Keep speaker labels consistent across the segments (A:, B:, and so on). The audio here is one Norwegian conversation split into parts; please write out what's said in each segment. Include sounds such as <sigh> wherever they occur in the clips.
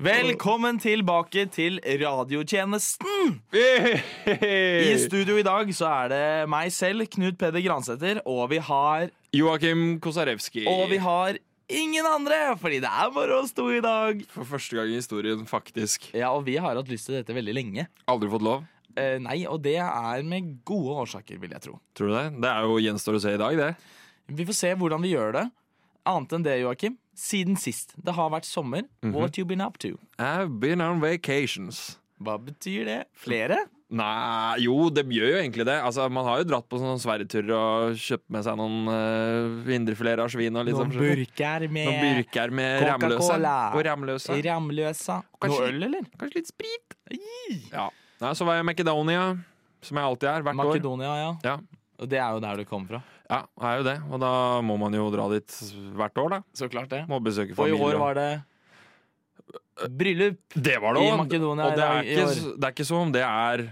A: Velkommen tilbake til radiotjenesten. I studio i dag så er det meg selv, Knut Peder Gransæter, og vi har
B: Joakim Kosarewski.
A: Og vi har ingen andre, fordi det er bare oss to i dag.
B: For første gang i historien, faktisk.
A: Ja, og vi har hatt lyst til dette veldig lenge.
B: Aldri fått lov.
A: Eh, nei, og det er med gode årsaker, vil jeg tro.
B: Tror du det? Det er jo gjenstår å se i dag, det.
A: Vi får se hvordan vi gjør det. Annet enn det, Joakim. Siden sist. Det har vært sommer. What you been up to?
B: I've been on vacations.
A: Hva betyr det? Flere?
B: Nei, jo, det gjør jo egentlig det. Altså, Man har jo dratt på sånne sverdturer og kjøpt med seg noen uh, indrefileter av svin og litt sånn forskjellig.
A: burker
B: Noen burker med ramløse.
A: Coca-Cola.
B: Og ramløse.
A: Ramløsa.
B: Kanskje-
A: Noe øl, eller?
B: Kanskje litt sprit. Ja. Nei, så var jeg i Makedonia, som jeg alltid er, hvert år.
A: Makedonia, ja.
B: Ja.
A: Og det er jo der du kom fra.
B: ja, er jo det. Og da må man jo dra dit hvert år, da.
A: Så klart det.
B: Må besøke
A: Og i
B: familie.
A: år var det bryllup.
B: Det var
A: I
B: det også.
A: Makedonia
B: Og det
A: i
B: er,
A: dag- i
B: ikke,
A: år.
B: s- det er ikke som om det er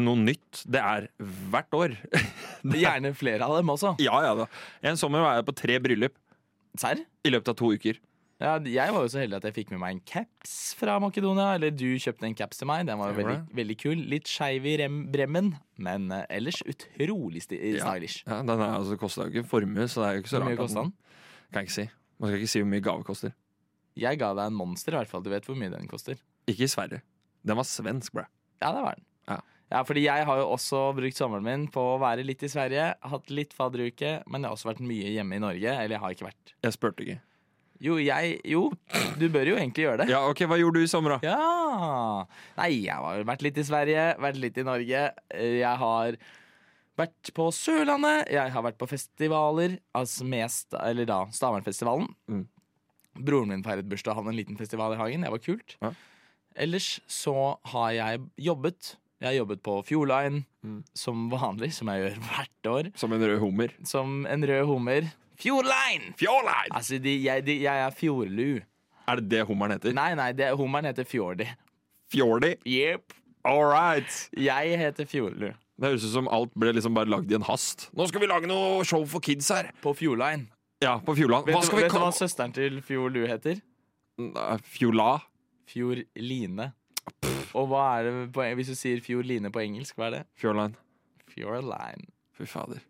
B: noe nytt. Det er hvert
A: <laughs>
B: år.
A: <laughs> Gjerne flere av dem også.
B: <laughs> ja, ja da. En sommer var jeg på tre bryllup
A: Serr?
B: i løpet av to uker.
A: Ja, jeg var jo så heldig at jeg fikk med meg en caps fra Makedonia. Eller du kjøpte en caps til meg. Den var jo
B: Gjorde
A: veldig, veldig kul. Litt skeiv i rem bremmen, men eh, ellers utrolig sti stylish.
B: Ja, den er- altså, kosta jo ikke en formue, så det er jo ikke så
A: Hvor
B: rart.
A: mye
B: at
A: kosta den?
B: Kan jeg ikke si. Man skal ikke si hvor mye gave koster.
A: Jeg ga deg en monster, i hvert fall. Du vet hvor mye den koster.
B: Ikke i Sverige. Den var svensk, bra.
A: Ja, det var den.
B: Ja.
A: fordi jeg har jo også brukt sommeren min på å være litt i Sverige. Hatt litt fadderuke, men jeg har også vært mye hjemme i Norge. Eller jeg har ikke vært.
B: Jeg spurte ikke.
A: Jo, jeg Jo, du bør jo egentlig gjøre det.
B: Ja, ok, Hva gjorde du i sommer, da?
A: Ja Nei, jeg har vært litt i Sverige, vært litt i Norge. Eh, Jeg har vært på Sørlandet, jeg har vært på festivaler, altså mest, eller da Stavangerfestivalen.
B: Mm.
A: Broren min feiret bursdag, han hadde en liten festival i hagen. Det var kult.
B: Ja.
A: Ellers så har jeg jobbet. Jeg har jobbet på Fjordline
B: Mm.
A: som vanlig, som jeg gjør hvert år.
B: Som en rød hummer.
A: Som en rød hummer. Fjordline!
B: Fjordline!
A: Altså, de, jeg, de, jeg er fjordlu.
B: Er det det hummeren heter?
A: Nei, nei, det, hummeren heter Fjordi.
B: Fjordi.
A: Yep.
B: All right!
A: Jeg heter Fjordlu.
B: Det høres ut som alt ble liksom bare lagd i en hast. Nå skal vi lage noe show for kids her!
A: På Fjordline.
B: Ja, på Fjordland.
A: Vet,
B: Hva
A: du-
B: skal vi
A: vet du
B: kalle
A: hva søsteren til Fjordlu heter?
B: Nei, Fjola.
A: Fjordline. Og hva er det på, hvis du sier Fjordline på engelsk, hva er det?
B: Fjordline.
A: Fjordline.
B: Fy fader.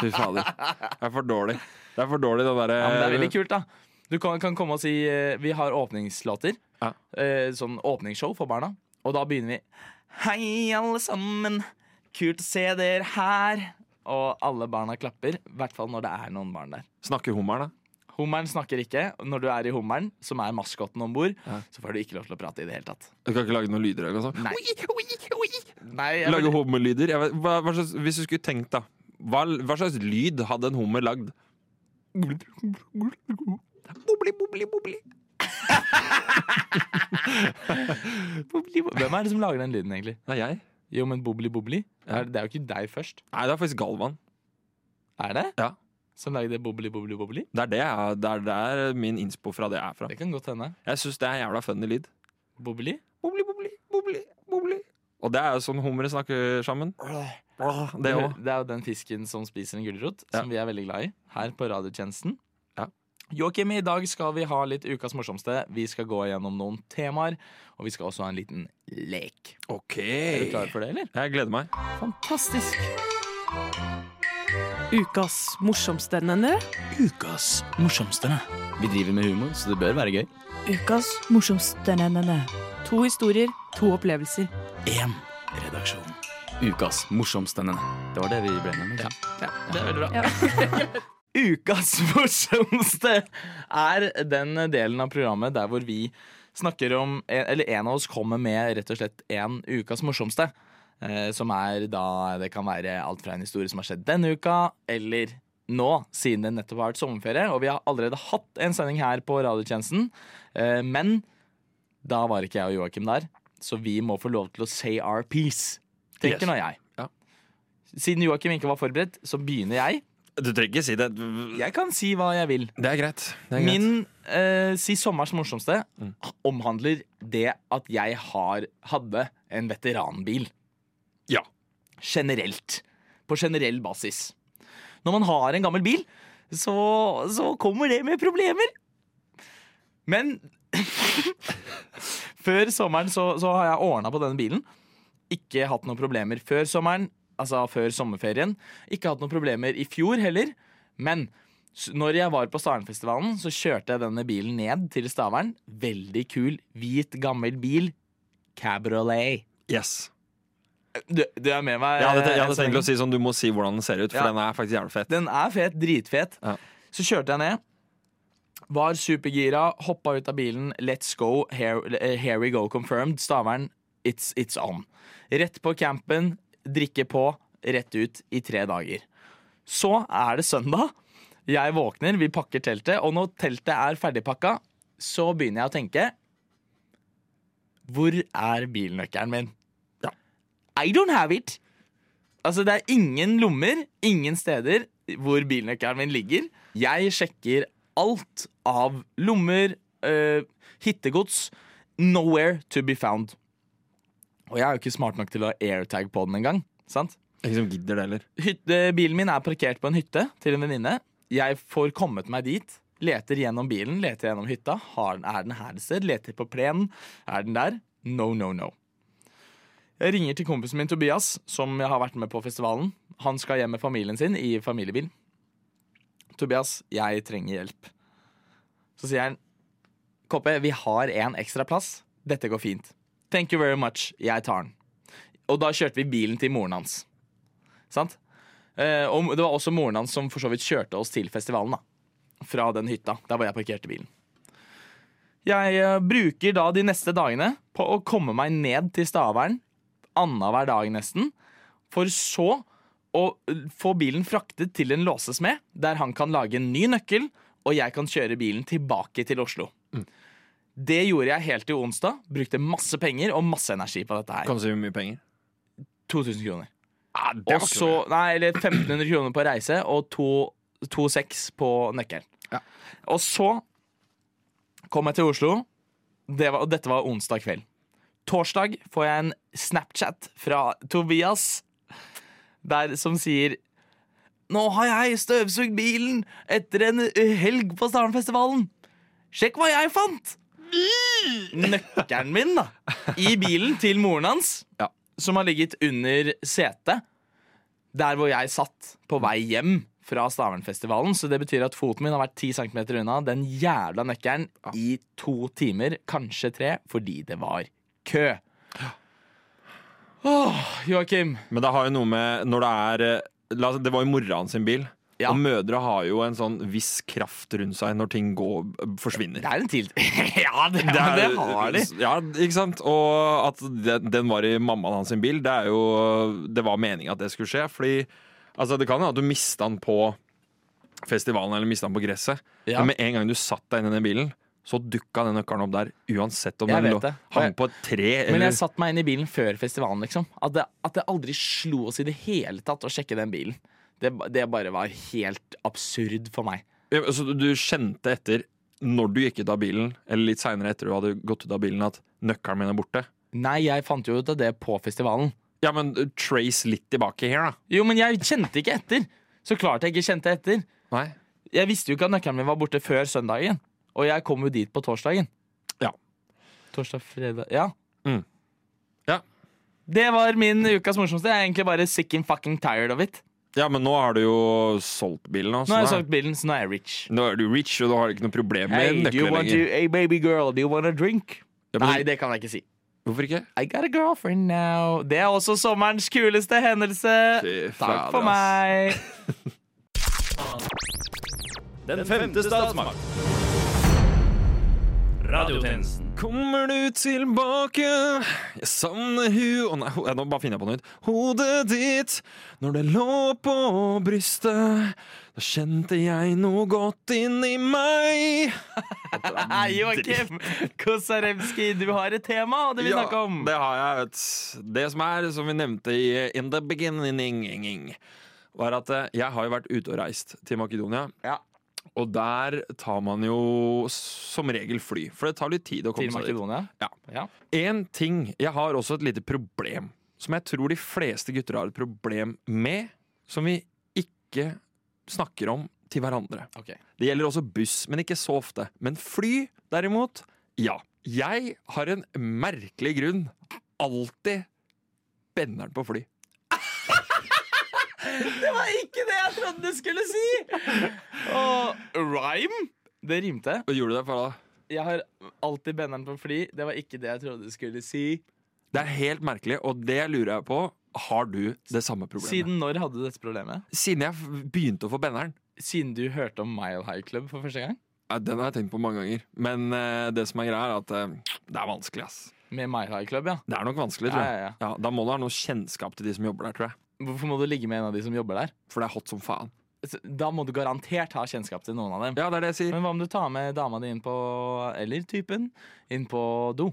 B: Fy fader. Det er for dårlig. Det er for dårlig, det derre
A: Ja, men det er veldig kult, da. Du kan, kan komme og si eh, Vi har åpningslåter.
B: Ja.
A: Eh, sånn åpningsshow for barna. Og da begynner vi. Hei, alle sammen. Kult å se dere her. Og alle barna klapper. I hvert fall når det er noen barn der.
B: Snakker hummeren, da?
A: Hummeren snakker ikke. Når du er i hummeren, som er maskotten om bord,
B: Ja.
A: så får du ikke lov til å prate i det hele tatt.
B: Du kan ikke lage noen lyder? Eller noe sånt?
A: Nei. Nei, jeg
B: Lage
A: vil-
B: hummerlyder? Jeg vet, hva, hva slags, hvis du skulle tenkt, da. Hva, hva slags lyd hadde en hummer lagd? Bobli, bobli, bobli.
A: Bobli, bo- Hvem er det som lager den lyden, egentlig?
B: Det er jeg.
A: Jo, men Bobli Bobli?
B: Ja.
A: Er, det er jo ikke deg først.
B: Nei, det er faktisk Galvan.
A: Er det?
B: Ja.
A: Som lagde Bobli Bobli Bobli?
B: Det er det, jeg- det er der min innspo fra det er fra.
A: Det kan godt hende.
B: Jeg syns det er en jævla funny lyd.
A: Bobli?
B: Bobli, bobli, bobli, bobli. Og det er jo sånn hummere snakker sammen. Det òg.
A: Det er jo den fisken som spiser en gulrot, som vi er veldig glad i her på radiotjenesten.
B: Ja.
A: Joakim, i dag skal vi ha litt ukas morsomste. Vi skal gå gjennom noen temaer, og vi skal også ha en liten lek.
B: Ok.
A: Er du klar for det, eller?
B: Jeg gleder meg.
C: Fantastisk. Ukas morsomstendende.
A: Ukas morsomste. Vi driver med humor, så det bør være gøy.
C: Ukas morsomstendende. To historier, to opplevelser.
A: Én redaksjon. Ukas morsomstendende. Det var det vi ble med. Ja. det er veldig bra. Ukas <laughs> morsomste er den delen av programmet der hvor vi snakker om Eller en av oss kommer med rett og slett en ukas morsomste. Eh, som er da Det kan være alt fra en historie som har skjedd denne uka, eller nå, siden det nettopp har vært sommerferie. Og vi har allerede hatt en sending her på radiotjenesten, eh, men da var ikke jeg og Joakim der, så vi må få lov til å say our piece, tenker
B: Yes.
A: nå jeg.
B: Ja.
A: Siden Joakim ikke var forberedt, så begynner jeg.
B: Du trenger ikke si det.
A: Mm. Jeg kan si hva jeg vil.
B: Det er greit. Det er greit.
A: Min eh, si sommers morsomste
B: Mm.
A: omhandler det at jeg har, hadde en veteranbil.
B: Ja.
A: Generelt. På generell basis. når man har en gammel bil, så, så kommer det med problemer. Men <laughs> før sommeren så, så har jeg ordna på denne bilen. Ikke hatt noen problemer før sommeren, altså før sommerferien. Ikke hatt noen problemer i fjor heller. Men s- når jeg var på Stavernfestivalen, så kjørte jeg denne bilen ned til Stavern. Veldig kul, hvit, gammel bil. Cabriolet.
B: Yes.
A: Du, du er med meg?
B: Jeg hadde, jeg
A: eh,
B: hadde
A: så lenge.
B: tenkt å si sånn, du må si hvordan den ser ut, for
A: Ja.
B: den er faktisk jævlig fet.
A: Den er fet, dritfet.
B: Ja.
A: Så kjørte jeg ned. Var supergira, hoppa ut av bilen. Let's go. Here, eh, here we go confirmed. Stavern, it's, it's on. Rett på campen, drikke på, rett ut i tre dager. Så er det søndag. Jeg våkner, vi pakker teltet, og når teltet er ferdigpakka, så begynner jeg å tenke Hvor er bilnøkkelen min? I don't have it! Altså, det er ingen lommer, ingen steder hvor bilnøkkelen min ligger. Jeg sjekker alt av lommer, eh, hittegods. Nowhere to be found. Og jeg er jo ikke smart nok til å ha airtag på den engang. sant?
B: Ikke som gidder det heller.
A: hytte, bilen min er parkert på en hytte til en venninne. Jeg får kommet meg dit. Leter gjennom bilen, leter gjennom hytta. Har, er den her et sted? Leter på plenen. Er den der? No, no, no. Jeg ringer til kompisen min Tobias, som jeg har vært med på festivalen. Han skal hjem med familien sin i familiebil. Tobias, jeg trenger hjelp. Så sier han, Koppe, vi har en ekstra plass. Dette går fint. Thank you very much. Jeg tar den. Og da kjørte vi bilen til moren hans. Sant? Eh, og det var også moren hans som for så vidt kjørte oss til festivalen. da Fra den hytta der hvor jeg parkerte bilen. Jeg eh, bruker da de neste dagene på å komme meg ned til Stavern annenhver dag nesten. For så å eh, få bilen fraktet til en låsesmed, der han kan lage en ny nøkkel, og jeg kan kjøre bilen tilbake til Oslo. Det gjorde jeg helt til onsdag. Brukte masse penger og masse energi på dette her.
B: Kan si hvor mye penger.
A: 2000 kroner.
B: Ja,
A: Og så, nei, eller 1500 kroner på reise og to- 2,6 på nøkkelen.
B: Ja.
A: Og så kom jeg til Oslo, det var, og dette var onsdag kveld. Torsdag får jeg en Snapchat fra Tobias der, som sier Nå har jeg støvsugd bilen etter en eh, helg på Starnfestivalen. Sjekk hva jeg fant! Nøkkelen min, da. I bilen til moren hans,
B: Ja.
A: som har ligget under setet der hvor jeg satt på vei hjem fra Stavernfestivalen. Så det betyr at foten min har vært 10 cm unna den jævla nøkkelen i to timer, kanskje tre, fordi det var kø. Åh, Joakim.
B: Men det har jo noe med når det er eh, la, oss- Det var jo mora hans sin bil.
A: Ja.
B: Og mødre har jo en sånn viss kraft rundt seg når ting går, forsvinner.
A: Det er en til <laughs> Ja, det,
B: Det
A: ja, det
B: er-
A: har de.
B: Ja, ikke sant? Og at den, den var i mammaen hans sin bil, det er jo Det var meninga at det skulle skje, fordi altså, det kan hende at du mista den på festivalen eller mista den på gresset.
A: Ja.
B: Men med en gang du satt deg inn i den bilen, så dukka den nøkkelen opp der. Uansett om
A: Jeg
B: den
A: vet
B: lå,
A: det.
B: hang på et tre
A: Men
B: eller
A: jeg satt meg inn i bilen før festivalen, liksom. At det, at det aldri slo oss i det hele tatt å sjekke den bilen. Det, ba- det bare var helt absurd for meg.
B: Ja, Så du- du kjente etter når du gikk ut av bilen, eller litt seinere etter du hadde gått ut av bilen, at nøkkelen min er borte?
A: Nei, jeg fant jo ut av det på festivalen.
B: Ja, men uh, trace litt tilbake her, da.
A: Jo, men jeg kjente ikke etter. Så klart jeg ikke kjente etter.
B: Nei.
A: Jeg visste jo ikke at nøkkelen min var borte før søndagen. Og jeg kom jo dit på torsdagen.
B: Ja.
A: Torsdag, fredag Ja.
B: Mm. Ja.
A: Det var min ukas morsomste. Jeg er egentlig bare sick and fucking tired of it.
B: Ja, men nå har du jo solgt bilen. Også,
A: Nå har jeg
B: da.
A: solgt bilen, så nå er jeg rich.
B: Nå er du rich, og du har ikke noe problem med
A: Hey, do you
B: nøkkelen
A: want
B: lenger.
A: you, hey baby girl, do you want a drink?
B: Ja, men-
A: Nei, det kan jeg ikke si.
B: Hvorfor ikke?
A: I got a girlfriend now. Det er også sommerens kuleste hendelse.
B: Fy
A: Takk
B: fader,
A: for meg.
D: Den femte statsmakt. Radiotjenesten.
B: Kommer du tilbake? Jeg savner hu Å nei, ho- ja, nå bare finner jeg på noe nytt. Hodet ditt, når det lå på brystet, da kjente jeg noe godt inni meg.
A: Hei, Joakim Kosarewski, du har et tema, og det vil vi snakke om.
B: det har jeg, vet du. Det som er, som vi nevnte i In the beginning, var at eh, jeg har jo vært ute og reist til Makedonia.
A: Ja.
B: Og der tar man jo som regel fly, for det tar litt tid å komme
A: Til
B: seg dit.
A: Makedonia?
B: Ja.
A: Ja.
B: En ting Jeg har også et lite problem som jeg tror de fleste gutter har et problem med, som vi ikke snakker om til hverandre.
A: Ok.
B: Det gjelder også buss, men ikke så ofte. Men fly, derimot, ja. Jeg har en merkelig grunn alltid benner'n på fly.
A: Det var ikke det jeg trodde du skulle si! Og rhyme? Det rimte.
B: Hva gjorde du det for da?
A: Jeg har alltid benderen på fly. Det var ikke det jeg trodde du skulle si.
B: Det er helt merkelig, og det lurer jeg på. Har du det samme problemet? Siden,
A: Siden når hadde du dette problemet?
B: jeg f- begynte å få benner'n.
A: Siden du hørte om Mile High Club for første gang?
B: Ja, Den har jeg tenkt på mange ganger. Men eh, det som er greia, er at eh, det er vanskelig, ass.
A: Med Mile High Club, ja.
B: Det er nok vanskelig,
A: ja,
B: tror
A: ja,
B: jeg.
A: ja.
B: Ja, Da må du ha noe kjennskap til de som jobber der, tror jeg.
A: Hvorfor må du ligge med en av de som jobber der?
B: For det er hot som faen.
A: Så Da må du garantert ha kjennskap til noen av dem.
B: Ja, det er det jeg sier.
A: Men hva om du tar med dama di inn på Eller typen inn på do?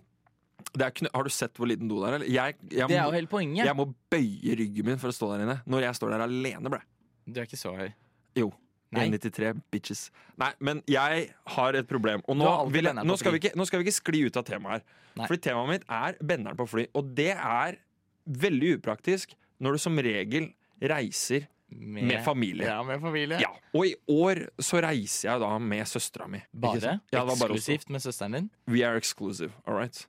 B: Det er ikke, noe- har du sett hvor liten do det er? Eller? Jeg, jeg,
A: Mm. Det er jo
B: må,
A: hele poenget.
B: jeg må bøye ryggen min for å stå der inne. Når jeg står der alene, ble.
A: Du er ikke så høy.
B: Jo.
A: Nei.
B: 1,93 bitches. Nei, men jeg har et problem. Og nå,
A: Du har alltid
B: vil jeg,
A: benderen
B: nå,
A: på
B: skal,
A: fly.
B: vi ikke, nå skal vi ikke skli ut av temaet her.
A: Nei.
B: Fordi temaet mitt er benderen på fly. Og det er veldig upraktisk når du som regel reiser
A: Med,
B: med familie.
A: Ja, med familie.
B: Ja, Og i år så reiser jeg da med søstera mi. Ikke
A: Bare?
B: sant? Ja, det var bare oss to.
A: eksklusivt med søsteren din?
B: We are exclusive, all right?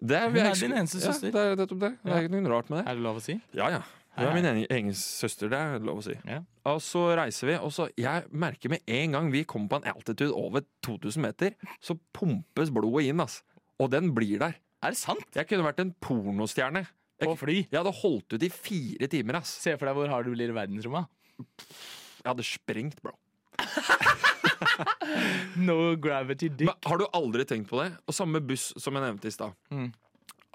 B: Det er, vi
A: Hun er
B: eksklu-
A: din eneste søster.
B: Ja, det er nettopp det. Det
A: Ja.
B: er ikke noe rart med det.
A: Er det lov å si?
B: Ja, ja. Hun
A: Hei,
B: er min egen- egen søster, det er lov å si.
A: Ja.
B: Og så reiser vi, og så jeg merker med en gang vi kommer på en altitude over 2000 meter, så pumpes blodet inn, ass. Og den blir der.
A: Er det sant?
B: Jeg kunne vært en pornostjerne.
A: På
B: Jeg,
A: fly?
B: jeg hadde holdt ut i fire timer, ass.
A: Se for deg hvor hard du blir i verdensrommet.
B: Jeg hadde sprengt, bro.
A: No gravity dick.
B: Men har du aldri tenkt på det? Og samme buss som jeg nevnte i stad.
A: Mm.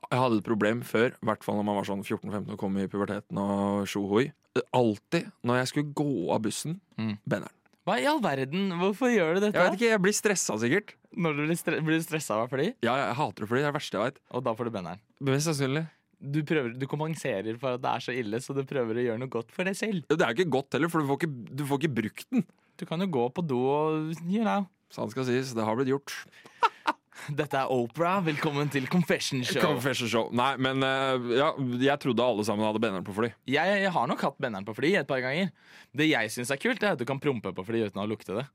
B: Jeg hadde et problem før, i hvert fall når man var sånn 14-15 og kom i puberteten og sjohoi. Alltid når jeg skulle gå av bussen,
A: Mm.
B: benneren.
A: Hva i all verden? Hvorfor gjør du dette?
B: Jeg vet ikke, jeg blir stressa sikkert.
A: Når du blir, stre blir du stressa av fly,
B: Ja, jeg hater det fordi det er det verste jeg veit.
A: og da får du benderen.
B: Mest sannsynlig.
A: Du, prøver, du kompenserer for at det er så ille, så du prøver å gjøre noe godt for deg selv.
B: Det er jo ikke godt heller, for du får ikke, du får ikke brukt den.
A: Du kan jo gå på do og you know.
B: Så han skal sies, det har blitt gjort.
A: Dette er Opera. Velkommen til Confession Show.
B: Confession show. Nei, men eh, ja, jeg trodde alle sammen hadde benneren på fly.
A: Jeg, jeg har nok hatt benderen på fly et par ganger. Det jeg syns er kult, det er at du kan prompe på fly uten å lukte det.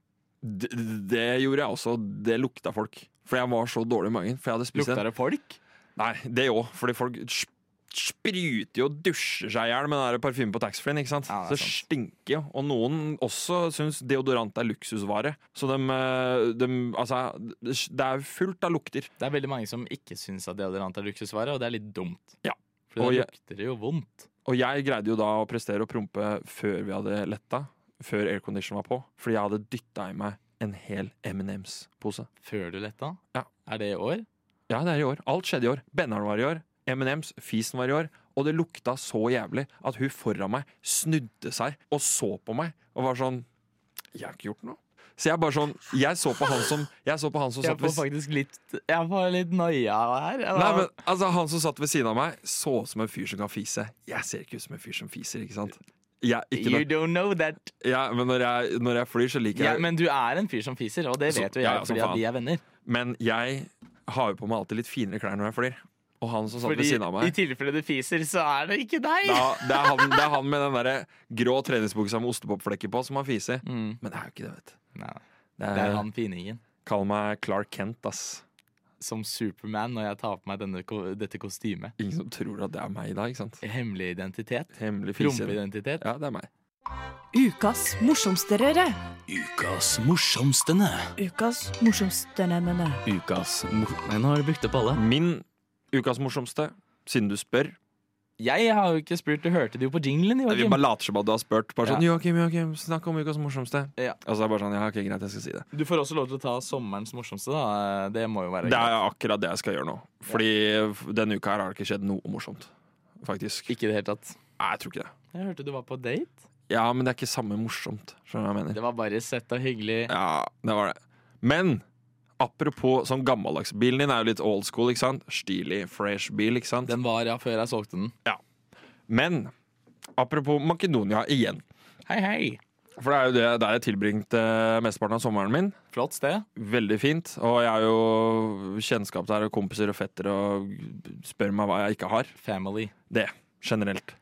B: Det, det gjorde jeg også. Det lukta folk. For jeg var så dårlig i magen. For jeg hadde spist en
A: Lukta det folk?
B: Nei, det òg. Fordi folk sp- spruter jo og dusjer seg i hjel med den der parfymen på taxfree-en. ikke sant?
A: Ja, det er
B: så det
A: sant.
B: stinker jo. Og noen også syns deodorant er luksusvare. Så dem, eh, dem Altså, det er fullt av lukter.
A: Det er veldig mange som ikke syns at deodorant er luksusvare, og det er litt dumt.
B: Ja.
A: For
B: Og
A: det
B: jeg-
A: lukter jo vondt.
B: Og jeg greide jo da å prestere og prompe før vi hadde letta. Før aircondition var på. Fordi jeg hadde dytta i meg en hel M&M's-pose.
A: Før du letta?
B: Ja.
A: Er det i år?
B: Ja, det er i år. Alt skjedde i år. Benneren var i år. M&M's, fisen var i år. Og det lukta så jævlig at hun foran meg snudde seg og så på meg og var sånn Jeg har ikke gjort noe. Så jeg bare sånn Jeg så på han som Jeg så på han som
A: Jeg
B: satt
A: får
B: ved s-
A: faktisk litt Jeg får litt noia her. eller?
B: Nei, men altså Han som satt ved siden av meg, så ut som en fyr som kan fise. Jeg ser ikke ut som en fyr som fiser, ikke sant? Jeg, ikke
A: You
B: nok-
A: don't know that.
B: ja, men når jeg, når jeg flyr, så liker
A: Ja,
B: jeg
A: men du er en fyr som fiser, og det
B: Så-
A: vet jo jeg
B: ja, ja, som
A: fordi at
B: faen.
A: vi er venner.
B: Men jeg har jo på meg alltid litt finere klær når jeg flyr. Og han som satt ved
A: Fordi
B: siden av meg
A: i tilfelle du fiser, så er det ikke deg!
B: Det er, det, er han, det er han med den der grå treningsbuksa med ostepopflekker på som har fise.
A: Mm.
B: Men det er jo ikke det, vet du.
A: Nei, nei.
B: Det
A: det
B: er,
A: er han finingen.
B: Kall meg Clark Kent, ass.
A: Som Superman når jeg tar på meg denne, ko- dette kostymet.
B: Ingen som tror at det er meg i dag, ikke sant?
A: Hemmelig identitet.
B: Hemmelig fise.
A: Prompeidentitet.
B: Ja, det er meg.
C: Ukas morsomsterere.
A: Ukas morsomstene.
C: Ukas morsomsterene.
A: Ukas mor... Nei, nå har du brukt opp alle.
B: Min ukas morsomste, siden du spør
A: Jeg har jo ikke spurt. Du hørte det jo på jinglen,
B: Vi
A: Joakim.
B: bare later som at du har spurt. Bare sånn, Joakim, Joakim, snakk om ukas morsomste.
A: Ja.
B: Og så er det bare sånn, ja, ok, greit, jeg skal si det.
A: Du får også lov til å ta sommerens morsomste, da. Det må jo være
B: Det er akkurat det jeg skal gjøre nå. Fordi denne uka her har det ikke skjedd noe morsomt. Faktisk.
A: Ikke i det hele tatt.
B: Nei, jeg tror ikke det.
A: Jeg hørte du var på date.
B: Ja, men det er ikke samme morsomt. Skjønner du hva jeg mener?
A: Det var bare sett og hyggelig.
B: Ja, det var det. Men apropos sånn gammeldags Bilen din er jo litt old school, ikke sant? Stilig, fresh bil, ikke sant?
A: Den var ja før jeg solgte den.
B: Men apropos Makedonia igjen.
A: Hei, hei!
B: For det er jo det der jeg tilbringte mesteparten av sommeren min.
A: Flott sted.
B: Veldig fint. Og jeg har jo kjennskap der, og kompiser og fettere, og spør meg hva jeg ikke har.
A: Family.
B: Det, generelt.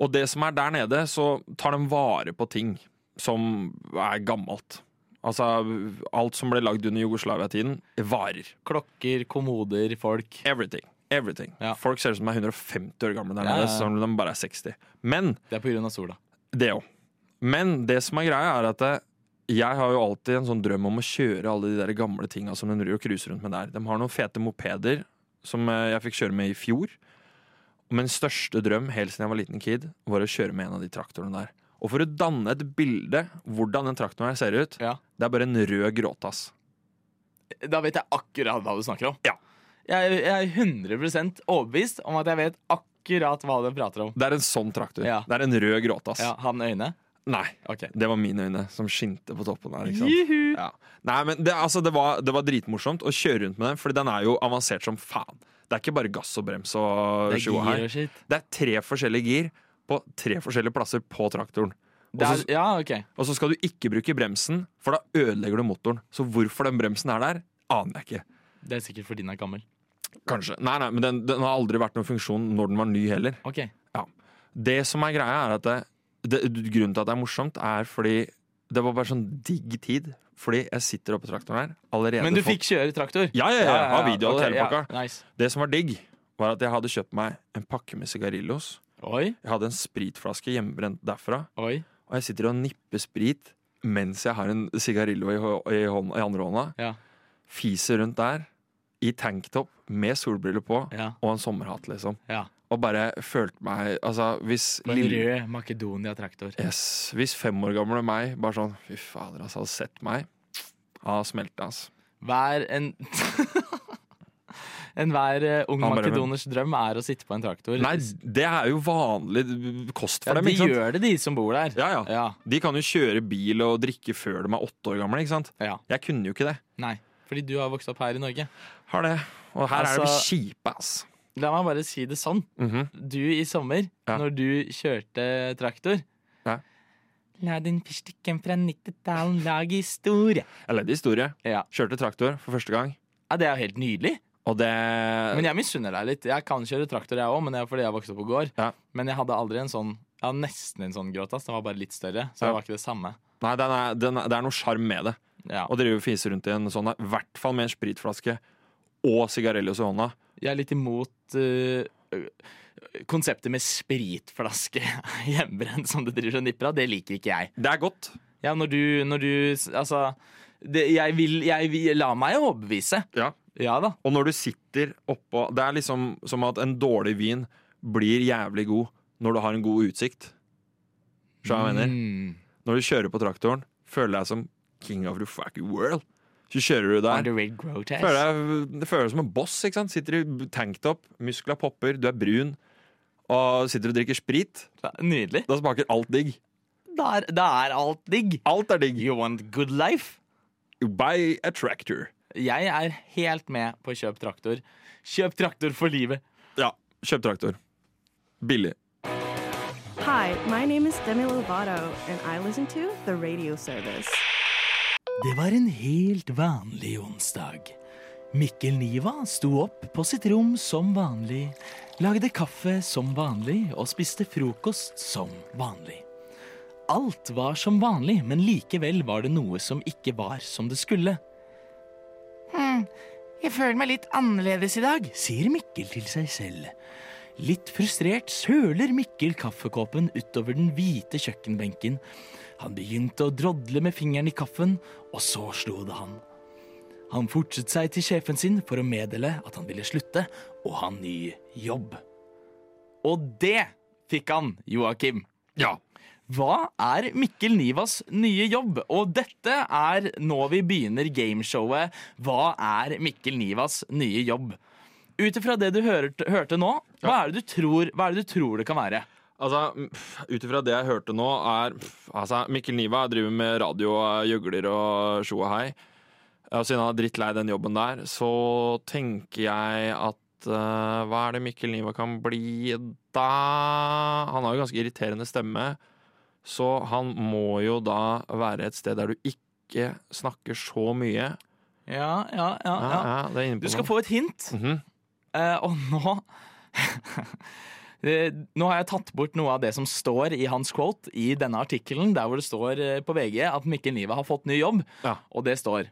B: Og det som er der nede, så tar de vare på ting. som er gammelt. Altså, alt som ble lagd under Jugoslavia-tiden, varer.
A: Klokker, kommoder, folk.
B: Everything. Everything.
A: Ja.
B: Folk ser ut som de er 150 år gamle der
A: Ja, ja,
B: nede,
A: ja.
B: som om de bare er 60. Men
A: Det er på grunn av sola.
B: det òg. Men det som er greia, er at eh, jeg har jo alltid en sånn drøm om å kjøre alle de der gamle tinga som de driver og cruiser rundt med der. De har noen fete mopeder som eh, jeg fikk kjøre med i fjor. Og min største drøm helt siden jeg var liten kid, var å kjøre med en av de traktorene der. Og for å danne et bilde hvordan den traktoren her ser ut,
A: Ja.
B: det er bare en rød gråtass.
A: Da vet jeg akkurat hva du snakker om.
B: Ja.
A: Jeg, jeg er 100 overbevist om at jeg vet akkurat hva du prater om.
B: Det er en sånn traktor.
A: Ja.
B: Det er en rød gråtass.
A: Ja, Han øyne?
B: Nei,
A: Ok.
B: det var mine øyne som skinte på toppen her. Ikke sant?
A: Juhu!
B: Ja. Nei, men det, altså, det, var, det var dritmorsomt å kjøre rundt med den, Fordi den er jo avansert som faen. Det er ikke bare gass og brems og
A: Det er
B: tjo og
A: gir
B: hei.
A: og shit.
B: Det er tre forskjellige gir på tre forskjellige plasser på traktoren. Og
A: Det er,
B: så-
A: ja, ok.
B: og så skal du ikke bruke bremsen, for da ødelegger du motoren. Så hvorfor den bremsen er der, aner jeg ikke.
A: Det er sikkert fordi den er gammel.
B: Kanskje. Nei, nei, men den, den har aldri vært noen funksjon når den var ny heller.
A: Ok.
B: Det som er greia, er at det, det, grunnen til at det er morsomt, er fordi det var bare sånn digg tid. Fordi jeg sitter oppe i traktoren her allerede.
A: Men du
B: fått-
A: fikk kjøre traktor?
B: Ja, ja, ja. Jeg har video av
A: ok,
B: det hele pakka.
A: Ja, nice.
B: Det som var digg, var at jeg hadde kjøpt meg en pakke med sigarillos.
A: Oi,
B: Jeg hadde en spritflaske hjemmebrent derfra,
A: oi.
B: og jeg sitter og nipper sprit mens jeg har en sigarillo i, hå- i, hånd, i andre hånda.
A: Ja.
B: Fiser rundt der, i tanktop, med solbriller på,
A: Ja.
B: og en sommerhatt, liksom.
A: ja.
B: Og bare følte meg Altså, hvis
A: På en
B: lille-
A: rød Makedonia-traktor.
B: Yes, Hvis fem år gamle meg bare sånn Fy fader, altså, hadde sett meg, ja, smelta, altså.
A: Hver en <laughs> Enhver eh, ung
B: Han bare-
A: makedoners drøm er å sitte på en traktor.
B: Nei, det er jo vanlig kost for
A: ja,
B: dem,
A: de
B: ikke sant?
A: gjør det, de som bor der.
B: Ja, ja.
A: ja.
B: De kan jo kjøre bil og drikke før de er åtte år gamle. ikke sant?
A: Ja.
B: Jeg kunne jo ikke det.
A: Nei. Fordi du har vokst opp her i Norge.
B: Har det. Og her er de
A: Altså-
B: kjipe, ass.
A: La meg bare si det sånn.
B: Mhm.
A: Du i sommer,
B: Ja.
A: når du kjørte traktor
B: Ja.
A: La den fyrstikken fra 90-tallet lage historie.
B: Jeg levde historie.
A: Ja.
B: Kjørte traktor for første gang.
A: ja, det er jo helt nydelig.
B: Og det Eh,
A: Men jeg misunner deg litt. Jeg kan kjøre traktor, jeg òg, men det er fordi jeg vokste opp på gård.
B: Ja.
A: Men jeg hadde aldri en sånn Jeg hadde nesten en sånn gråtass. Den var bare litt større, så
B: Ja.
A: det var ikke det samme.
B: Nei, den er, den er, det er noe sjarm med det.
A: Ja.
B: Å drive og fise rundt i en sånn, i hvert fall med en spritflaske og sigarellos i hånda.
A: Jeg er litt imot øh, øh, konseptet med spritflaske <laughs> hjemmebrent som du driver og nipper av. Det liker ikke jeg.
B: Det er godt.
A: Ja, når du, når du Altså, det, jeg, vil, jeg vil La meg overbevise.
B: Ja.
A: Ja da.
B: Og når du sitter oppå Det er liksom som at en dårlig vin blir jævlig god når du har en god utsikt. Skjønner du hva jeg mener?
A: Mm.
B: Når du kjører på traktoren, føler jeg som king of the fucking world. Så kjører du der.
A: Underrated grotesque.
B: Føler deg, det føles som en boss. ikke sant? Sitter i tanktop, muskler popper, du er brun. Og sitter og drikker sprit.
A: Ja, Nydelig.
B: Da smaker alt digg.
A: Da er, da er alt digg.
B: Alt er digg.
A: You want good life?
B: By a tractor.
A: Jeg er helt med på kjøp traktor. Kjøp traktor for livet.
B: Ja, kjøp traktor. Billig.
E: Hi, my name is Demi Lovato, and I listen to the radio service.
A: Det var en helt vanlig onsdag. Mikkel Niva sto opp på sitt rom som vanlig, lagde kaffe som vanlig og spiste frokost som vanlig. Alt var som vanlig, men likevel var det noe som ikke var som det skulle. Hmm, jeg føler meg litt annerledes i dag, sier Mikkel til seg selv. Litt frustrert søler Mikkel kaffekåpen utover den hvite kjøkkenbenken. Han begynte å drodle med fingeren i kaffen, og så slo det ham. Han fortet seg til sjefen sin for å meddele at han ville slutte og ha ny jobb. Og det fikk han, Joakim.
B: Ja.
A: Hva er Mikkel Nivas nye jobb? Og dette er nå vi begynner gameshowet Hva er Mikkel Nivas nye jobb? Ut ifra det du hørte, hørte nå, hva er, det du tror, hva er det du tror det kan være?
B: Altså, ut ifra det jeg hørte nå, er pff, altså, Mikkel Niva driver med radio og gjøgler og tjo og hei. Og siden han er drittlei den jobben der, så tenker jeg at eh, Hva er det Mikkel Niva kan bli da? Han har jo ganske irriterende stemme, så han må jo da være et sted der du ikke snakker så mye.
A: Ja, ja, ja, Mhm.
B: Ja,
A: ja.
B: ja, det er inne på
A: Du skal
B: noe.
A: få et hint,
B: Mhm.
A: eh, og nå <laughs> eh, Nå har jeg tatt bort noe av det som står i hans quote i denne artikkelen, der hvor det står eh, på VG at Mikkel Niva har fått ny jobb,
B: Ja.
A: og det står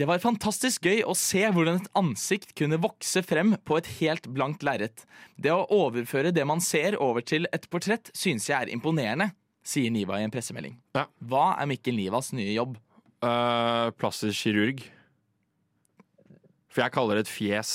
A: det var fantastisk gøy å se hvordan et ansikt kunne vokse frem på et helt blankt lerret. Det å overføre det man ser over til et portrett synes jeg er imponerende, sier Niva i en pressemelding.
B: Ja.
A: Hva er Mikkel Nivas nye jobb?
B: Eh, plastisk kirurg. For jeg kaller det et fjes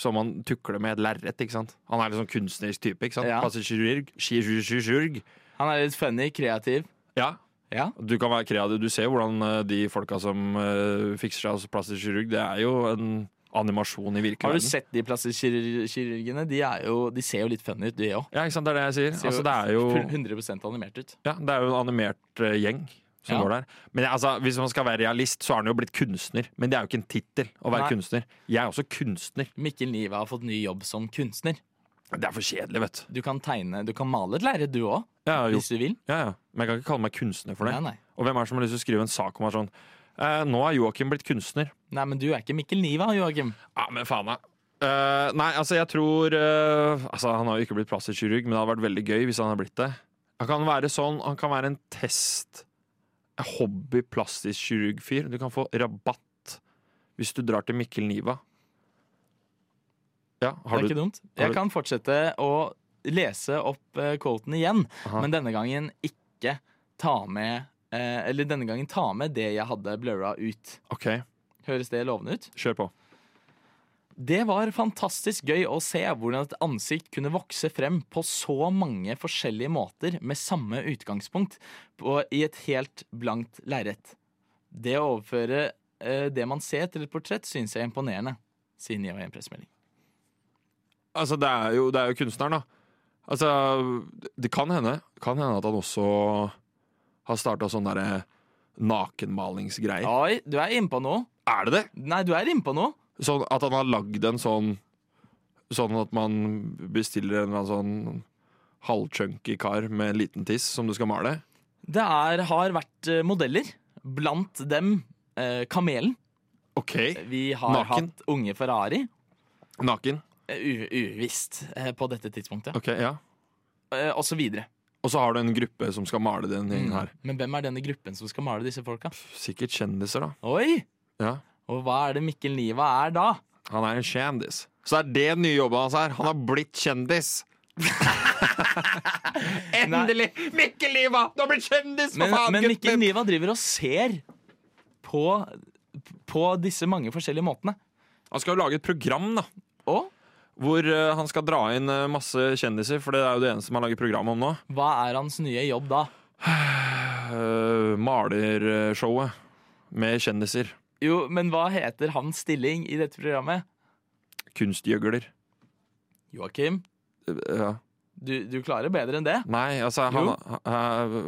B: som man tukler med et lerret. ikke sant? Han er litt sånn kunstnerisk type. ikke sant?
A: Ja.
B: Plastisk kirurg. Kirurg. kirurg.
A: Han er litt funny, kreativ.
B: Ja.
A: Ja.
B: Du kan være kreativ. Du ser jo hvordan eh, de folka som eh, fikser seg hos plastisk kirurg, det er jo en animasjon i virkeligheten.
A: Har du sett de plastikkirurgene? De, er jo, de ser jo litt funny ut, de òg.
B: Ja, ikke sant? Det er det jeg sier.
A: Ser jo
B: Altså, det er jo...
A: 100 animert ut.
B: Ja, det er jo en animert eh, gjeng som
A: Ja.
B: går der. Men altså, hvis man skal være realist, så er han jo blitt kunstner. Men det er jo ikke en tittel å være
A: Nei.
B: kunstner. Jeg er også kunstner.
A: Mikkel Niva har fått ny jobb som kunstner.
B: Det er for kjedelig, vet du.
A: Du kan tegne, du kan male et lerret, du òg,
B: Ja, jo.
A: hvis du vil.
B: Ja, ja. Men jeg kan ikke kalle meg kunstner for det.
A: Nei, nei.
B: Og hvem er det som har lyst til å skrive en sak om meg sånn eh, Nå er Joakim blitt kunstner.
A: Nei, men du er ikke Mikkel Niva, Joakim.
B: Ja, men faen da. Eh, nei, altså jeg tror eh, Altså Han har jo ikke blitt plastikkirurg, men det hadde vært veldig gøy hvis han hadde blitt det. Han kan være sånn, han kan være en test en hobby-plastikkirurg-fyr. Du kan få rabatt hvis du drar til Mikkel Niva. Ja,
A: Det
B: har
A: er
B: du
A: ikke dumt.
B: har
A: Jeg
B: du-
A: kan fortsette å lese opp eh, quoten igjen,
B: Aha.
A: men denne gangen ikke ta med eh, Eller denne gangen ta med det jeg hadde blurra ut.
B: OK,
A: Høres det lovende ut?
B: kjør på.
A: Det var fantastisk gøy å se hvordan et ansikt kunne vokse frem på så mange forskjellige måter med samme utgangspunkt på, i et helt blankt lerret. Det å overføre eh, det man ser til et portrett, synes jeg er imponerende, sier Niva i en pressemelding.
B: Altså, det er jo, det er jo kunstneren, da. Altså, det kan hende, kan hende at han også har starta sånn derre nakenmalingsgreier.
A: Oi, du er innpå noe.
B: Er det det?
A: Nei, du er innpå noe.
B: Sånn at han har lagd en sånn Sånn at man bestiller en eller annen sånn halvchunky kar med en liten tiss som du skal male.
A: Det er, har vært eh, modeller, blant dem eh, Kamelen.
B: OK.
A: Vi har
B: Naken.
A: hatt unge Ferrari.
B: Naken.
A: Eh, U uvisst eh, på dette tidspunktet.
B: Ok, ja.
A: Eh, og så videre.
B: Og så har du en gruppe som skal male den gjengen her.
A: Men hvem er denne gruppen som skal male disse folka?
B: Sikkert kjendiser, da.
A: Oi!
B: Ja.
A: Og hva er det Mikkel Niva er da?
B: Han er en kjendis. Så det er det nye jobben hans er. Han har blitt kjendis. <laughs> Endelig! Mikkel Liva! Du har blitt kjendis, for
A: Men,
B: faen!
A: men Mikkel
B: gutten!
A: Niva driver og ser på, på disse mange forskjellige måtene.
B: Han skal jo lage et program, da.
A: Og
B: Hvor eh, han skal dra inn eh, masse kjendiser, for det er jo det eneste man lager program om nå.
A: hva er hans nye jobb da?
B: Eh, malershowet med kjendiser.
A: Jo, men hva heter hans stilling i dette programmet?
B: Kunstgjøgler.
A: Joakim,
B: Eh, ja.
A: du, du klarer bedre enn det.
B: Nei, altså han eh,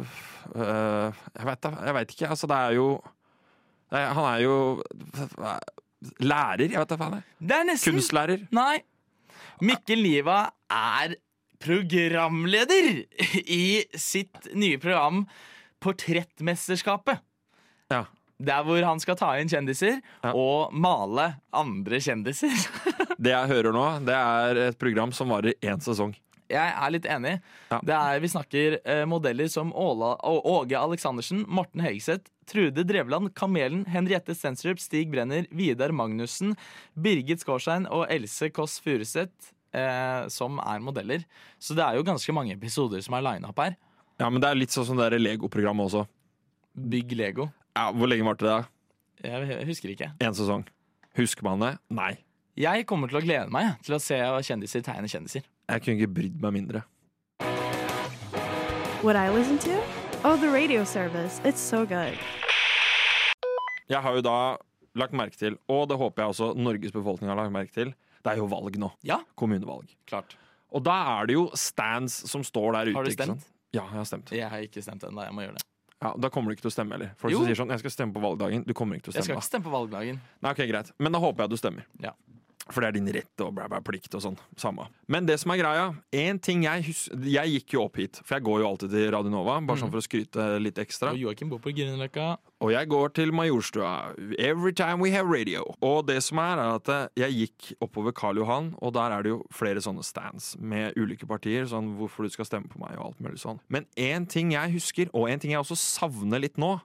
B: eh, Jeg vet da, jeg vet ikke. Altså, det er jo Nei, Han er jo lærer, jeg vet da faen. jeg.
A: Det er nesten
B: Kunstlærer.
A: Nei. Mikkel Niva er programleder i sitt nye program Portrettmesterskapet.
B: Ja.
A: Der hvor han skal ta inn kjendiser
B: Ja.
A: og male andre kjendiser.
B: Det jeg hører nå, det er et program som varer én sesong.
A: Jeg er litt enig.
B: Ja.
A: Det er, vi snakker eh, modeller som Åla, Å- Åge Aleksandersen, Morten Hegseth, Trude Drevland, Kamelen, Henriette Stensrup, Stig Brenner, Vidar Magnussen, Birgit Skårstein og Else Kåss Furuseth. Eh, som er modeller. Så det er jo ganske mange episoder som er lina opp her.
B: Ja, men det er litt sånn som det der Lego-programmet også.
A: Bygg Lego.
B: Ja, hvor lenge varte det? da?
A: Jeg hu- husker ikke.
B: Én sesong. Husker man det? Nei.
A: Jeg kommer til å glede meg jeg, til å se kjendiser tegne kjendiser.
B: Jeg kunne ikke brydd meg mindre.
E: What I listen to? Oh, the radio service. It's so good.
B: Jeg har jo da lagt merke til, og det håper jeg også Norges befolkning har lagt merke til, det er jo valg nå.
A: Ja,
B: Kommunevalg.
A: klart.
B: Og da er det jo stands som står der ute.
A: Har du
B: ikke sant?
A: stemt?
B: Ja, jeg har stemt.
A: Jeg har ikke stemt ennå. Jeg må gjøre det.
B: Ja, da kommer du ikke til å stemme heller. Folk
A: Jo.
B: som sier sånn 'Jeg skal stemme på valgdagen'. Du kommer ikke til å
A: Jeg skal
B: stemme.
A: ikke stemme på valgdagen.
B: da. Nei, ok, greit. Men da håper jeg at du stemmer.
A: Ja.
B: For det er din rett og blæ, blæ, plikt og sånn. Samme. Men det som er greia En ting jeg husker Jeg gikk jo opp hit, for jeg går jo alltid til Radio Nova, bare sånn for å skryte litt ekstra.
A: Og Joakim bor på Grünerløkka.
B: Og jeg går til Majorstua every time we have radio. Og det som er, er at eh, jeg gikk oppover Karl Johan, og der er det jo flere sånne stands med ulike partier, sånn hvorfor du skal stemme på meg og alt mulig sånn. Men én ting jeg husker, og én ting jeg også savner litt nå,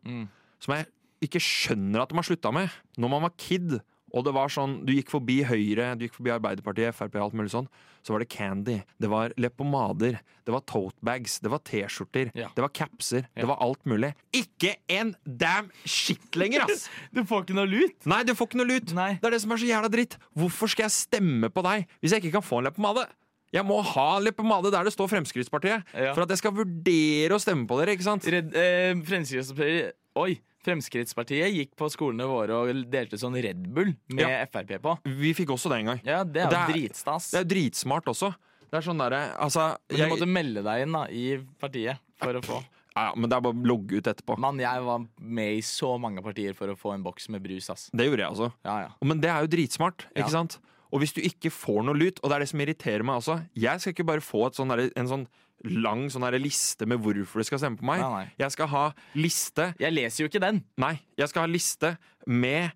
B: som jeg ikke skjønner at de har slutta med, når man var kid og det var sånn, Du gikk forbi Høyre, du gikk forbi Arbeiderpartiet, Frp, alt mulig sånn. Så var det candy, det var leppomader, det var totebags, det var T-skjorter,
A: Ja.
B: det var capser, det var alt mulig. Ikke en damn shit lenger, ass!
A: <laughs> Du får ikke noe lut!
B: Nei, du får ikke noe lut!
A: Nei.
B: Det er det som er så jævla dritt. Hvorfor skal jeg stemme på deg hvis jeg ikke kan få en leppepomade? Jeg må ha en leppepomade der det står Fremskrittspartiet,
A: Ja.
B: for at jeg skal vurdere å stemme på dere, ikke sant?
A: Redd, eh, Fremskrittspartiet Oi! Fremskrittspartiet gikk på skolene våre og delte sånn Red Bull med
B: Ja.
A: Frp på.
B: Vi fikk også det en gang.
A: Ja, det er jo
B: Det er-
A: dritstas.
B: Det er jo dritsmart også. Det er sånn derre Altså,
A: Men du
B: jeg,
A: måtte melde deg inn da, i partiet for å få.
B: ja, ja, men det er bare å logge ut etterpå.
A: Mann, jeg var med i så mange partier for å få en boks med brus, ass.
B: Det gjorde jeg også.
A: Ja, ja.
B: Men det er jo dritsmart,
A: Ja.
B: ikke sant? Og hvis du ikke får noe lut, og det er det som irriterer meg også Jeg skal ikke bare få et sånn derre- en sånn lang sånn derre liste med hvorfor du skal stemme på meg.
A: Nei, nei.
B: Jeg skal ha liste
A: Jeg leser jo ikke den.
B: Nei, jeg skal ha liste med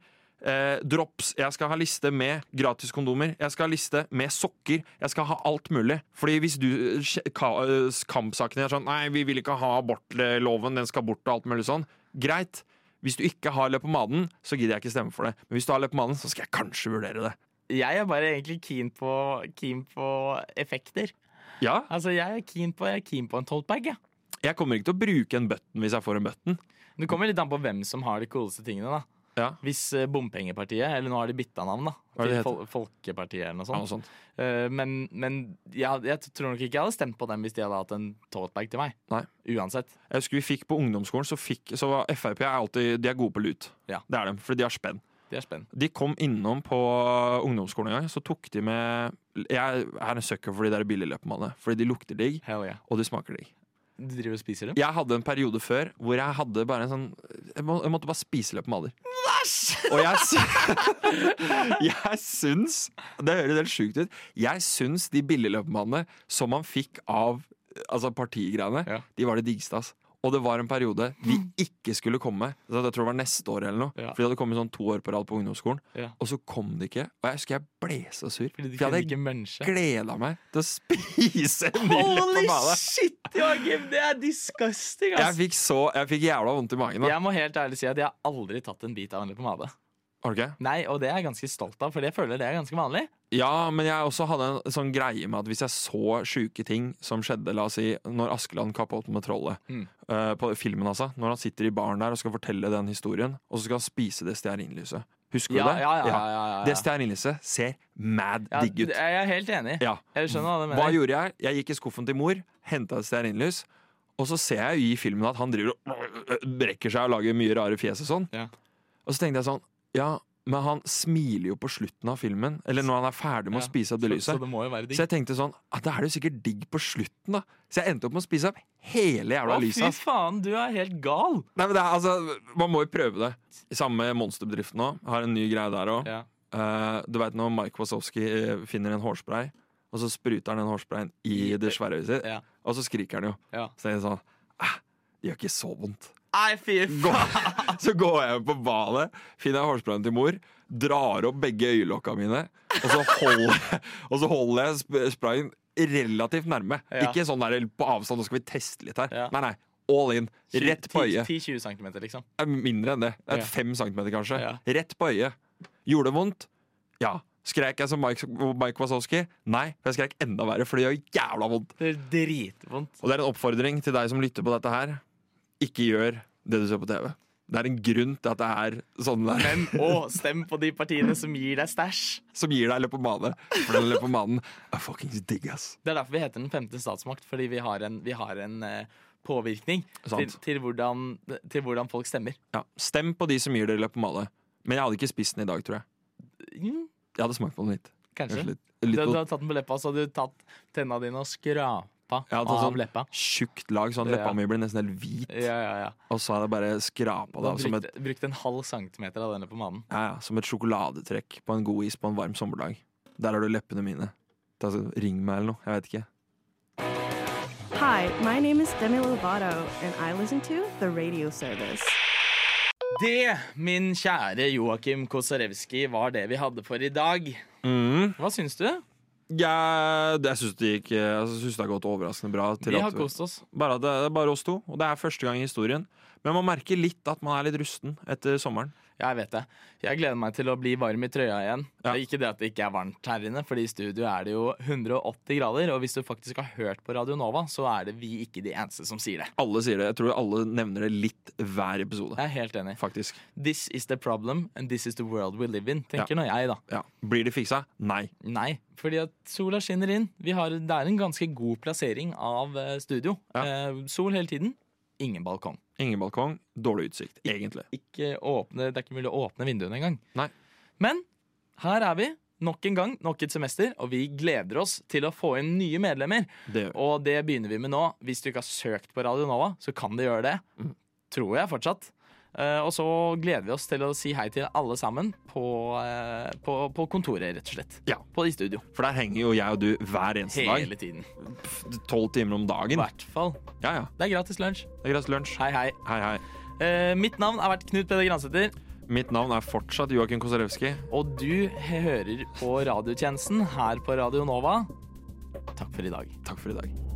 B: eh, drops, jeg skal ha liste med gratis kondomer, jeg skal ha liste med sokker, jeg skal ha alt mulig. Fordi hvis du eh, kje- ka- eh, Kampsakene er sånn Nei, vi vil ikke ha abortloven, den skal bort og alt mulig sånn. Greit. Hvis du ikke har leppepomaden, så gidder jeg ikke stemme for det. Men hvis du har leppepomaden, så skal jeg kanskje vurdere det.
A: Jeg er bare egentlig keen på, keen på effekter.
B: Ja,
A: Altså, jeg er keen på, jeg er keen på en toltbag, jeg.
B: jeg kommer ikke til å bruke en button hvis jeg får en button.
A: Det kommer litt an på hvem som har de cooleste tingene, da.
B: Ja,
A: Hvis eh, Bompengepartiet, eller nå har de bytta navn, da.
B: Hva
A: Til
B: er det det
A: Fol Folkepartiet eller noe
B: ja noe
A: sånt.
B: sånt.
A: Eh, men men jeg, jeg tror nok ikke jeg hadde stemt på dem hvis de hadde hatt en toltbag til meg.
B: Nei.
A: Uansett.
B: Jeg husker vi fikk på ungdomsskolen, så, fikk, så var Frp er alltid De er gode på lut.
A: Ja.
B: Det er de, fordi de har spenn.
A: De er spent.
B: De kom innom på ungdomsskolen en gang, så tok de med Jeg er en sucker for de der billigløpemannene, fordi de lukter digg,
A: Hell yeah.
B: og de smaker digg.
A: Du driver og spiser dem?
B: Jeg hadde en periode før hvor jeg hadde bare en sånn Jeg, må, jeg måtte bare spise løpemader. Og jeg, sy- <laughs> jeg syns Det høres helt sjukt ut. Jeg syns de billigløpemadene som man fikk av altså partigreiene,
A: Ja.
B: de var det diggeste. ass. Og det var en periode vi ikke skulle komme. Så Jeg tror det var neste år eller noe.
A: Ja.
B: For de hadde kommet sånn to år på rad på ungdomsskolen.
A: Ja.
B: Og så kom de ikke. Og jeg husker jeg ble så sur.
A: Fordi de
B: for
A: kunne
B: jeg
A: ikke
B: hadde
A: munche. <laughs>
B: gleda meg til å <laughs> spise en ny løpemade.
A: shit, Joakim! Det er disgusting,
B: Jeg fikk så Jeg fikk jævla vondt i magen. Da.
A: Jeg må helt ærlig si at jeg har aldri tatt en bit av en leppepomade.
B: Har du ikke?
A: Nei, og det er jeg ganske stolt av, for jeg føler det er ganske vanlig.
B: Ja, men jeg også hadde en sånn greie med at hvis jeg så sjuke ting som skjedde, la oss si når Askeland kappa opp med trollet,
A: Mm.
B: eh, på filmen altså, når han sitter i baren der og skal fortelle den historien, og så skal han spise det stearinlyset. Husker
A: Ja,
B: du det?
A: ja, ja, ja, ja, ja.
B: Det stearinlyset ser mad
A: Ja,
B: digg ut.
A: Jeg er helt enig.
B: Ja.
A: Jeg skjønner hva du mener.
B: Hva gjorde jeg? Jeg gikk i skuffen til mor, henta et stearinlys, og så ser jeg jo i filmen at han driver og brekker seg og lager mye rare fjes og sånn.
A: Ja.
B: Og så tenkte jeg sånn Ja, men han smiler jo på slutten av filmen, eller når han er ferdig med
A: Ja,
B: å spise opp det lyset.
A: Så det må jo være digg.
B: Så jeg tenkte sånn, ah, da er det jo sikkert digg på slutten da Så jeg endte opp med å spise opp hele jævla
A: Å,
B: lyset
A: fy
B: ass.
A: faen, du er helt gal!
B: Nei, men det er, altså, man må jo prøve det Samme monsterbedriften nå, har en ny greie der også
A: Ja.
B: Eh, Du vet når Mike Wazowski eh, finner en hårspray Og så spruter han den hårsprayen i det svære huset
A: Ja.
B: Og så skriker han jo
A: Ja.
B: Så jeg er sånn, ah, det gjør ikke så vondt <laughs>
A: Nei, fy
B: Gå- Så går jeg på badet, finner jeg hårsprayen til mor, drar opp begge øyelokka mine, og så holder, <laughs> og så holder jeg sp- sprayen relativt nærme.
A: Ja.
B: Ikke sånn der på avstand, nå skal vi teste litt her.
A: Ja.
B: Nei, nei. All in. Rett på øyet.
A: 10-20 cm, liksom.
B: Det er Eh, mindre enn det. Det
A: Ja.
B: er fem centimeter, kanskje.
A: Ja.
B: Rett på øyet. Gjorde det vondt? Ja. Skrek jeg som Mike, Mike Wazowski? Nei, for jeg skrek enda verre, for det gjør jævla vondt.
A: Det er dritvondt.
B: Og det er en oppfordring til deg som lytter på dette her. Ikke gjør det du ser på TV. Det er en grunn til at det er sånn der,
A: Og stem på de partiene som gir deg stæsj.
B: <laughs> som gir deg leppepomade. For den leppepomaden er fuckings digg, ass.
A: Det er derfor vi heter Den femte statsmakt, fordi vi har en, vi har en eh, påvirkning til,
B: Sant.
A: til, hvordan, til hvordan folk stemmer.
B: Ja, stem på de som gir deg leppepomade. Men jeg hadde ikke spist den i dag, tror jeg.
A: Mm,
B: Jeg hadde smakt på den litt.
A: kanskje.
B: Kanskje litt,
A: Du,
B: litt
A: du
B: på
A: hadde tatt den på leppa, så hadde du tatt tenna dine og skrapa
B: Jeg hadde
A: av
B: tatt sånn-
A: leppa.
B: tjukt lag, sånn at
A: Ja.
B: leppa mi ble nesten helt hvit.
A: Ja, ja, ja.
B: Og så hadde jeg bare skrapa
A: Du
B: det av som et,
A: brukte, brukte en halv centimeter av denne på mannen.
B: ja, ja, som et sjokoladetrekk på en god is på en varm sommerdag. Der har du leppene mine. Ta så- Ring meg eller noe. Jeg vet ikke.
E: Hi, my name is Demi Lovato, and I listen to the radio service.
A: Det, min kjære Joakim Kosarewski, var det vi hadde for i dag. Hva syns du?
B: Jeg, Mm. jeg syns det gikk altså, Jeg synes det har gått overraskende bra. til
A: Vi
B: at
A: har kost oss.
B: Bare at det det er bare oss to, og det er første gang i historien. Men man merker litt at man er litt rusten etter sommeren.
A: Jeg vet det. Jeg gleder meg til å bli varm i trøya igjen.
B: Ja.
A: Det er ikke det at det ikke er varmt her inne, for i studio er det jo 180 grader. Og hvis du faktisk har hørt på Radio Nova, så er det vi ikke de eneste som sier det.
B: Alle sier det. Jeg tror alle nevner det litt hver episode.
A: Jeg er helt enig.
B: Faktisk.
A: This is the problem, and this is the world we live in, tenker nå jeg, da.
B: Ja. Blir det fiksa? Nei.
A: Nei, fordi at sola skinner inn. Vi har, det er en ganske god plassering av eh, studio.
B: Ja.
A: Eh, sol hele tiden. Ingen balkong.
B: Ingen balkong, dårlig utsikt, egentlig.
A: Ikke åpne, det er ikke mulig å åpne vinduene engang.
B: Nei.
A: Men her er vi. Nok en gang, nok et semester, og vi gleder oss til å få inn nye medlemmer.
B: Det gjør vi.
A: Og det begynner vi med nå. Hvis du ikke har søkt på Radio Nova, så kan du gjøre det. Tror jeg fortsatt. Eh, og så gleder vi oss til å si hei til alle sammen på, eh, på, på kontoret, rett og slett.
B: Ja.
A: På i studio.
B: For der henger jo jeg og du hver eneste
A: Hele tiden.
B: dag. Tolv timer om
A: I
B: dagen.
A: hvert fall.
B: Ja, ja.
A: Det er gratis lunsj.
B: Det er greit lunsj.
A: Hei, hei.
B: Hei, hei.
A: Eh, mitt navn har vært Knut Peder Gransæter,
B: Mitt navn er fortsatt Joakim Kosarewski.
A: og du hører på radiotjenesten her på Radio Nova. Takk for i dag.
B: Takk for i dag.